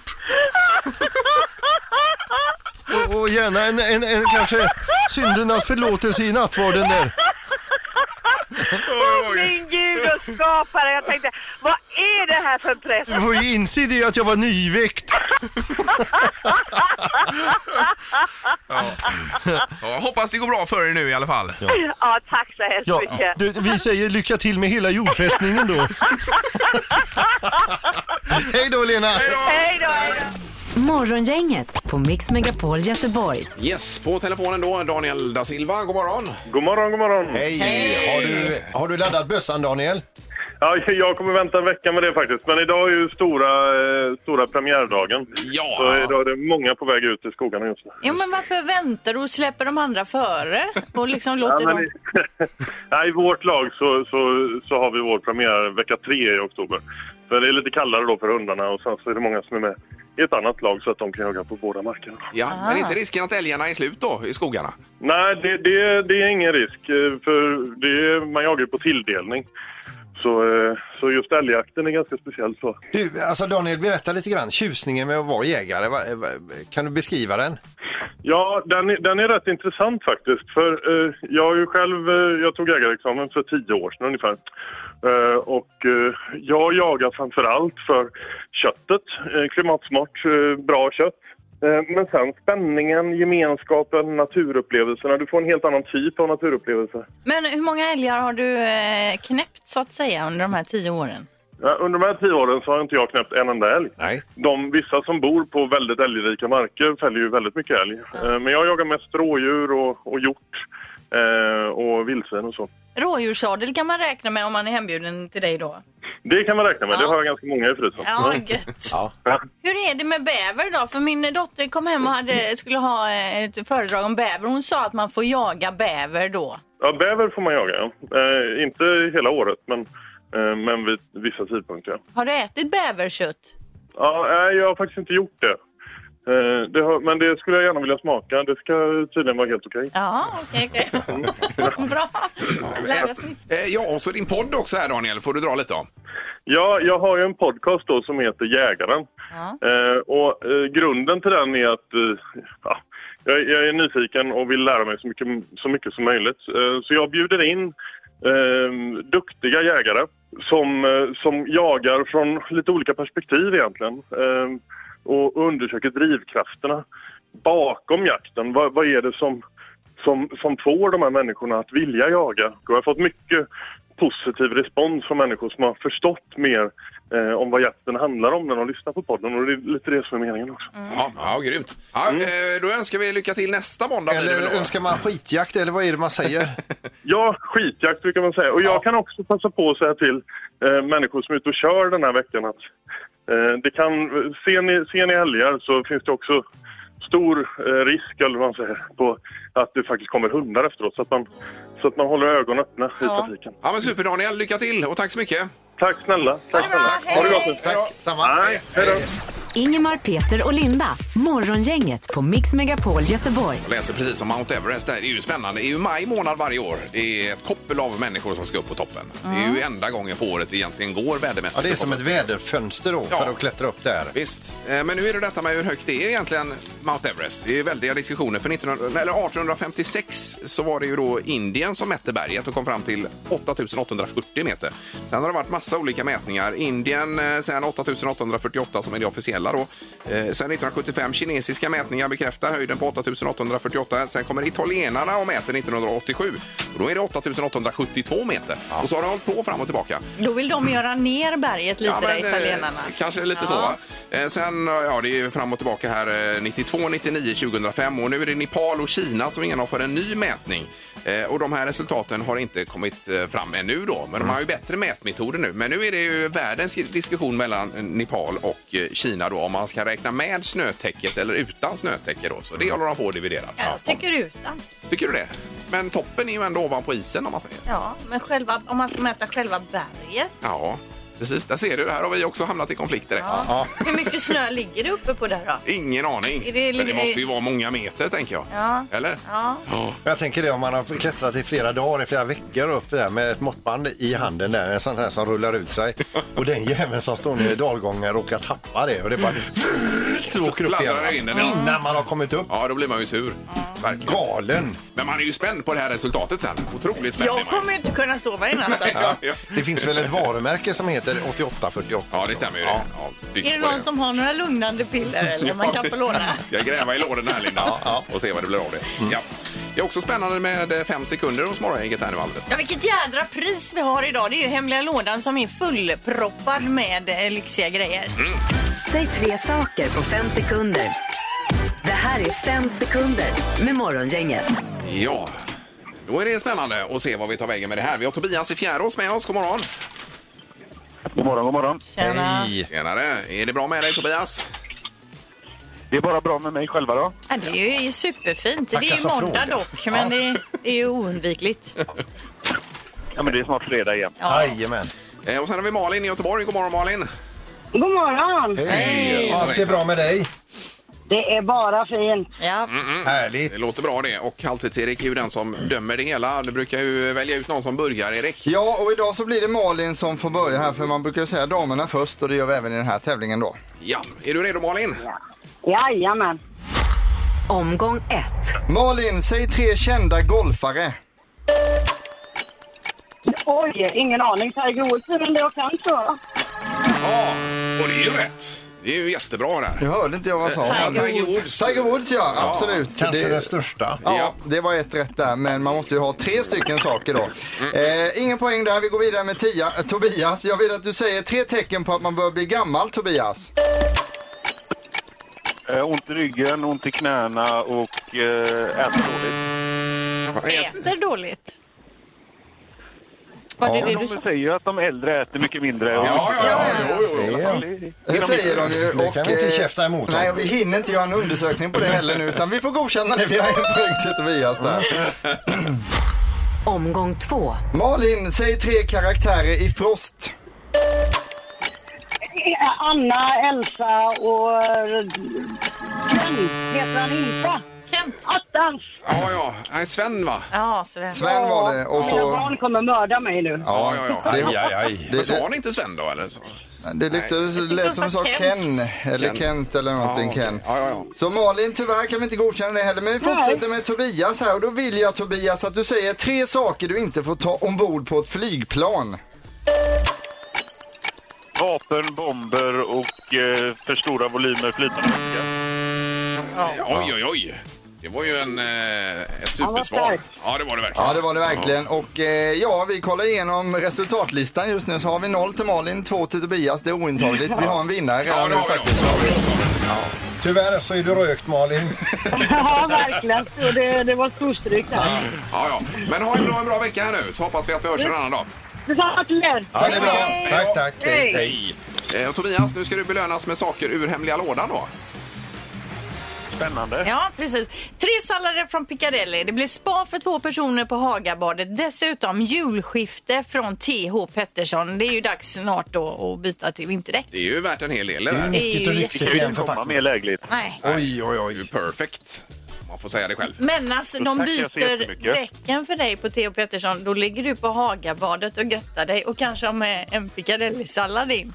Speaker 11: Och, och gärna en, en, en kanske syndernas förlåtelse i nattvarden där.
Speaker 10: Åh, min gud och skapare. Jag tänkte, vad är det här för en press?
Speaker 11: Du får ju inse det att jag var nyväckt.
Speaker 12: Ja. Ja, hoppas det går bra för er nu i alla fall.
Speaker 10: Ja, tack så hemskt
Speaker 11: Ja,
Speaker 10: mycket.
Speaker 11: du, vi säger lycka till med hela jordfästningen då. Hej då Lena!
Speaker 10: Hej då!
Speaker 4: Morgongänget på Mix Megapol Göteborg.
Speaker 1: Yes, på telefonen då, Daniel da Silva. God morgon!
Speaker 3: God morgon, god morgon. Hej! Har, du, har du laddat bössan, Daniel?
Speaker 13: Ja, jag kommer vänta en vecka med det faktiskt. Men idag är ju stora, eh, stora premiärdagen.
Speaker 1: Ja.
Speaker 13: Så idag är det många på väg ut i skogarna just nu.
Speaker 2: Jo, men varför väntar du och släpper de andra före? Och liksom
Speaker 13: Ja,
Speaker 2: låter
Speaker 13: men
Speaker 2: dem...
Speaker 13: i, nej, I vårt lag så, så, så har vi vår premiär vecka tre i oktober. Så det är lite kallare då för hundarna och sen så är det många som är med i ett annat lag så att de kan jaga på båda markerna.
Speaker 1: Ja, men inte risken att älgarna är slut då i skogarna?
Speaker 13: Nej, det, det, det är ingen risk. eh, För det, man jagar ju på tilldelning. Så, eh, så just älgjakten är ganska speciell så.
Speaker 3: Du, alltså Daniel, berätta lite grann. Tjusningen med att vara jägare, va, va, kan du beskriva den?
Speaker 13: Ja, den, är- den är rätt intressant faktiskt. För eh, jag har ju själv, eh, jag tog jägarexamen för tio år sedan ungefär. Eh, och eh, jag jagar framför allt för köttet, eh, klimatsmart, eh, bra kött. Eh, men sen spänningen, gemenskapen, naturupplevelserna. Du får en helt annan typ av naturupplevelser.
Speaker 2: Men hur många älgar har du eh, knäppt så att säga under de här tio åren?
Speaker 13: Ja, Under de här tio åren så har inte jag knäppt en enda älg.
Speaker 3: Nej.
Speaker 13: De, vissa som bor på väldigt älgrika marker fäller ju väldigt mycket älg. Eh, Men jag jagar mest rådjur och, och hjort eh, och vildsvin och så.
Speaker 2: Rådjurssadel kan man räkna med om man är hembjuden till dig då.
Speaker 13: Det kan man räkna med. Det har jag ganska många i frysen.
Speaker 2: Ja, gött. Hur är det med bäver då? För min dotter kom hem och hade, skulle ha eh, ett föredrag om bäver. Hon sa att man får jaga bäver då.
Speaker 13: Ja, bäver får man jaga. ja. Eh, inte hela året, men eh, men vid vissa tidpunkter. ja.
Speaker 2: Har du ätit bäverkött?
Speaker 13: Ja, nej, jag har faktiskt inte gjort det. Eh, det har, men det skulle jag gärna vilja smaka. Det ska tydligen vara helt okej.
Speaker 2: Ja, okej. okej. Bra. Lära sig.
Speaker 1: Eh, Ja, och så din podd också här Daniel, får du dra lite om.
Speaker 13: Ja, jag har ju en podcast då som heter Jägaren. Eh, och eh, grunden till den är att eh, ja, jag, jag är nyfiken och vill lära mig så mycket, så mycket som möjligt. Eh, så jag bjuder in eh, duktiga jägare som, eh, som jagar från lite olika perspektiv egentligen. Eh, och undersöker drivkrafterna bakom jakten. Vad, vad är det som, som, som får de här människorna att vilja jaga? Och jag har fått mycket positiv respons från människor som har förstått mer eh, om vad jakten handlar om när de lyssnar på podden. Och det är lite det som är meningen också.
Speaker 3: Mm.
Speaker 1: Ja, ja grymt. Ja, eh, Då önskar vi lycka till nästa måndag. blir det väl
Speaker 3: Eller
Speaker 1: då?
Speaker 3: önskar man skitjakt eller vad är det man säger?
Speaker 13: Ja, skitjakt brukar man säga. Och jag kan också passa på att säga till eh, människor som är ute och kör den här veckan att eh, det kan, ser, ni, ser ni älgar så finns det också stor eh, risk, eller vad man säger, på att det faktiskt kommer hundar efteråt. Så att man, så att man håller ögonen öppna i trafiken.
Speaker 1: Ja, men super Daniel, lycka till och tack så mycket.
Speaker 13: Tack snälla. Tack
Speaker 1: Eh,
Speaker 13: snälla. Ha det gott. nu.
Speaker 1: Tack.
Speaker 3: Samma.
Speaker 1: Hej. Hej.
Speaker 4: Ingemar, Peter och Linda. Morgongänget på Mix Megapol Göteborg.
Speaker 1: Jag läser precis om Mount Everest. där. Det är ju spännande. Det är ju maj månad varje år. Det är ett koppel av människor som ska upp på toppen. Det är ju enda gången på året det egentligen går vädermässigt.
Speaker 3: Mm. Ja, det är
Speaker 1: upp på
Speaker 3: som ett
Speaker 1: toppen.
Speaker 3: väderfönster då för att klättra upp där.
Speaker 1: Visst. Eh, Men nu är det detta med hur högt det är egentligen Mount Everest. Det är väldiga diskussioner. För 1900, eller 1856 så var det ju då Indien som mätte berget och kom fram till 8840 meter. Sen har det varit massa olika mätningar. Indien eh, sen 8848 som är det officiella då. Eh, Sen 1975 kinesiska mätningar bekräftar höjden på 8848. Sen kommer italienarna och mäter 1987. Och då är det 8872 meter. Och så har det hållit på fram och tillbaka.
Speaker 2: Då vill de göra ner berget lite, där,
Speaker 1: men, eh,
Speaker 2: italienarna.
Speaker 1: Kanske lite
Speaker 2: Ja.
Speaker 1: så. Va? Eh, Sen, ja, det är ju fram och tillbaka här eh, 92, 99, 2005 och nu är det Nepal och Kina som genomför en ny mätning. Eh, Och de här resultaten har inte kommit eh, fram ännu då, men de har ju bättre mätmetoder nu. Men nu är det ju världens diskussion mellan eh, Nepal och eh, Kina då om man ska räkna med snötäcket eller utan snötäcke då. Så det håller de på att dividera.
Speaker 2: Tycker utan.
Speaker 1: Tycker du det? Men toppen är ju ändå ovanpå isen om man säger.
Speaker 2: Ja, men själva, om man ska mäta själva berget.
Speaker 1: Ja, precis. Där ser du, här har vi också hamnat i konflikt direkt.
Speaker 2: Ja. Hur mycket snö ligger det uppe på där då?
Speaker 1: Ingen aning.
Speaker 2: Är det-
Speaker 1: Men det måste ju vara många meter, tänker jag.
Speaker 2: Ja.
Speaker 1: Eller?
Speaker 2: Ja.
Speaker 1: Ja.
Speaker 3: Jag tänker det om man har klättrat i flera dagar, i flera veckor upp där med ett måttband i handen där, en sån här som rullar ut sig. Och den jäveln som står nere i dalgången råkar tappa det och det bara så åker upp igen.
Speaker 1: Fladdrar det in den, ja.
Speaker 3: Innan man har kommit upp.
Speaker 1: Ja, då blir man ju sur. Verkligen.
Speaker 3: Galen!
Speaker 1: Men man är ju spänd på det här resultatet sen. Otroligt spänd är
Speaker 2: Jag
Speaker 1: man ju.
Speaker 2: kommer ju inte kunna sova i natt alltså.
Speaker 1: Ja.
Speaker 3: Det finns väl ett varumärke som heter 8848?
Speaker 1: Ja, det stämmer ju det. Ja, byggt
Speaker 2: Är det
Speaker 1: på
Speaker 2: någon som har några lugnande piller eller man kan få låna?
Speaker 1: Ska jag gräva i lådorna här, Linda? Och se vad det blir av det. Ja. Det är också spännande med eh, fem sekunder hos Morgongänget här nu alldeles.
Speaker 2: Ja, vilket jädra pris vi har idag. Det är ju hemliga lådan som är fullproppad med eh, lyxiga grejer.
Speaker 1: Mm.
Speaker 4: Säg tre saker på fem sekunder. Det här är fem sekunder med Morgongänget.
Speaker 1: Ja, då är det spännande att se vad vi tar vägen med det här. Vi har Tobias i Fjärås med oss. God morgon!
Speaker 7: God morgon, god morgon.
Speaker 1: Hej! Tjenare! Är det bra med dig, Tobias?
Speaker 7: Det är bara bra med mig själva då.
Speaker 2: Ja, det är ju superfint.
Speaker 7: Tackar
Speaker 2: det är ju
Speaker 7: som
Speaker 2: måndag
Speaker 7: fråga.
Speaker 2: dock, men det, är, det är ju oundvikligt.
Speaker 7: Ja, men det är snart fredag igen.
Speaker 2: Ja.
Speaker 3: Jajamän.
Speaker 1: Eh, Och sen har vi Malin i Göteborg. God morgon, Malin! Eh,
Speaker 14: God morgon!
Speaker 1: Hej!
Speaker 3: Allt är bra med dig?
Speaker 14: Det är bara fint.
Speaker 2: Ja.
Speaker 1: Mm.
Speaker 3: Härligt.
Speaker 1: Det låter bra det. Och Halvtids-Erik är ju den som dömer det hela. Du brukar ju välja ut någon som börjar, Erik.
Speaker 8: Ja, och idag så blir det Malin som får börja här för man brukar ju säga damerna först och det gör vi även i den här tävlingen då.
Speaker 1: Ja, är du redo Malin?
Speaker 14: Jajamän.
Speaker 4: Omgång ett.
Speaker 8: Malin, säg tre kända golfare.
Speaker 14: Oj, ingen aning. Tiger Woods är väl det jag kan tror jag.
Speaker 1: Ja, och det är ju rätt. Det är ju jättebra där.
Speaker 8: Nu hörde inte jag vad jag sa.
Speaker 1: Eh, Tiger Woods.
Speaker 8: Tiger Woods ja,
Speaker 1: Ja,
Speaker 8: absolut.
Speaker 3: kanske den största.
Speaker 8: Ja,
Speaker 1: Ja.
Speaker 8: det var ett rätt där, men man måste ju ha tre stycken saker då. Eh, ingen poäng där, vi går vidare med tia, eh, Tobias. Jag vill att du säger tre tecken på att man börjar bli gammal, Tobias.
Speaker 7: Eh, ont i ryggen, ont i knäna och eh, äter dåligt.
Speaker 2: Äter dåligt. Var det det du
Speaker 7: de säger ju att de äldre äter mycket mindre.
Speaker 1: Ja, ja, ja.
Speaker 8: Det säger de ju.
Speaker 3: Det kan vi inte
Speaker 8: eh,
Speaker 3: käfta emot
Speaker 8: Nej,
Speaker 3: dem.
Speaker 8: och vi hinner inte göra en
Speaker 1: Mm.
Speaker 8: undersökning på det heller nu, utan vi får godkänna det. Vi har en poäng till Tobias där.
Speaker 4: omgång två.
Speaker 8: Malin, säg tre karaktärer i Frost.
Speaker 14: Anna, Elsa och eh, Kent. Heter han inte?
Speaker 2: Kent.
Speaker 14: Attans!
Speaker 1: Ja, ja. Nej, Sven va?
Speaker 2: Ja, Sven.
Speaker 8: Sven var det och
Speaker 14: Mina
Speaker 8: så...
Speaker 14: barn kommer mörda mig nu.
Speaker 1: Ja, ja, ja.
Speaker 8: Det- det-
Speaker 1: Men sa han inte Sven då eller? Så?
Speaker 8: Det lyckades,
Speaker 1: Nej.
Speaker 8: lät som du sa Ken, eller
Speaker 1: Ken.
Speaker 8: Kent eller någonting
Speaker 1: Ja, okej.
Speaker 8: Ken.
Speaker 1: Ja, ja, ja.
Speaker 8: Så Malin, tyvärr kan vi inte godkänna det heller, men vi fortsätter med Tobias här och då vill jag Tobias att du säger tre saker du inte får ta ombord på ett flygplan.
Speaker 15: Vapen, bomber och eh, för stora volymer flytande vätska.
Speaker 1: Oj, oj, oj. Det var ju en, eh, ett
Speaker 8: Ja, vad
Speaker 1: supersvar.
Speaker 8: starkt.
Speaker 1: Ja, det var det verkligen.
Speaker 8: Ja, det var det verkligen. Och eh, ja, vi kollar igenom resultatlistan just nu så har vi noll till Malin, två till Tobias. Det är ointagligt. Vi har en vinnare
Speaker 1: Ja,
Speaker 8: redan
Speaker 1: det
Speaker 8: nu
Speaker 1: har vi
Speaker 8: faktiskt.
Speaker 3: Tyvärr så är du rökt Malin.
Speaker 14: Ja, verkligen. Så det, det var storstryk där.
Speaker 1: Ja, ja. Men ha en bra, en bra vecka här nu så hoppas vi att vi hörs en annan dag.
Speaker 14: Detsamma till er.
Speaker 1: Ja, det är bra. Tack, tack.
Speaker 14: Hej.
Speaker 1: Hej. Eh, Tobias, nu ska du belönas med saker ur hemliga lådan då.
Speaker 15: Spännande.
Speaker 2: Ja, precis. Tre sallader från Piccadilly. Det blir spa för två personer på Hagabadet. Dessutom julskifte från TH Pettersson. Det är ju dags snart då att byta till vinterdäck.
Speaker 1: Det är ju värt en hel del.
Speaker 2: Det är ju nyttigt och nyttigt i en
Speaker 15: förpackning. mer lägligt.
Speaker 2: Nej.
Speaker 1: Oj, oj, oj. Perfekt. Man får säga det själv.
Speaker 2: Men alltså,
Speaker 1: Då
Speaker 2: de
Speaker 1: tackar jag så
Speaker 2: byter
Speaker 1: jättemycket.
Speaker 2: däcken för dig på Theo Pettersson. Då ligger du på Hagabadet och göttar dig och kanske har med en piccadilly-sallad in.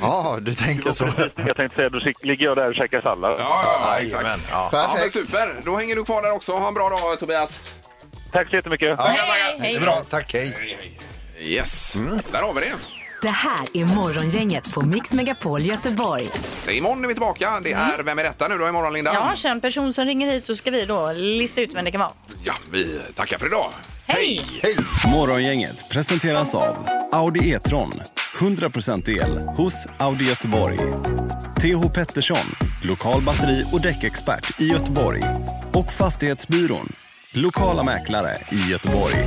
Speaker 8: Ja, du tänker så.
Speaker 15: Jag tänkte säga, då ligger jag där och käkar sallad.
Speaker 1: Ja, ja, ja, exakt.
Speaker 15: Ja.
Speaker 1: Ja, men super. Då hänger du kvar där också. Ha en bra dag, Tobias.
Speaker 15: Tack så jättemycket.
Speaker 1: Ja, hej,
Speaker 2: hej.
Speaker 3: Bra, tack, hej.
Speaker 1: Yes, Mm. där har vi det.
Speaker 4: Det här är Morgongänget på Mix Megapol Göteborg.
Speaker 1: Det är Imorgon är vi tillbaka. Det är Vem är detta nu då imorgon, Linda?
Speaker 2: Ja, känd person som ringer hit så ska vi då lista ut vem det kan vara.
Speaker 1: ja vi tackar för idag.
Speaker 2: Hej!
Speaker 1: Hej!
Speaker 16: Morgongänget presenteras av Audi E-tron. 100% el hos Audi Göteborg. TH Pettersson, lokal batteri och däckexpert i Göteborg. Och Fastighetsbyrån, lokala mäklare i Göteborg.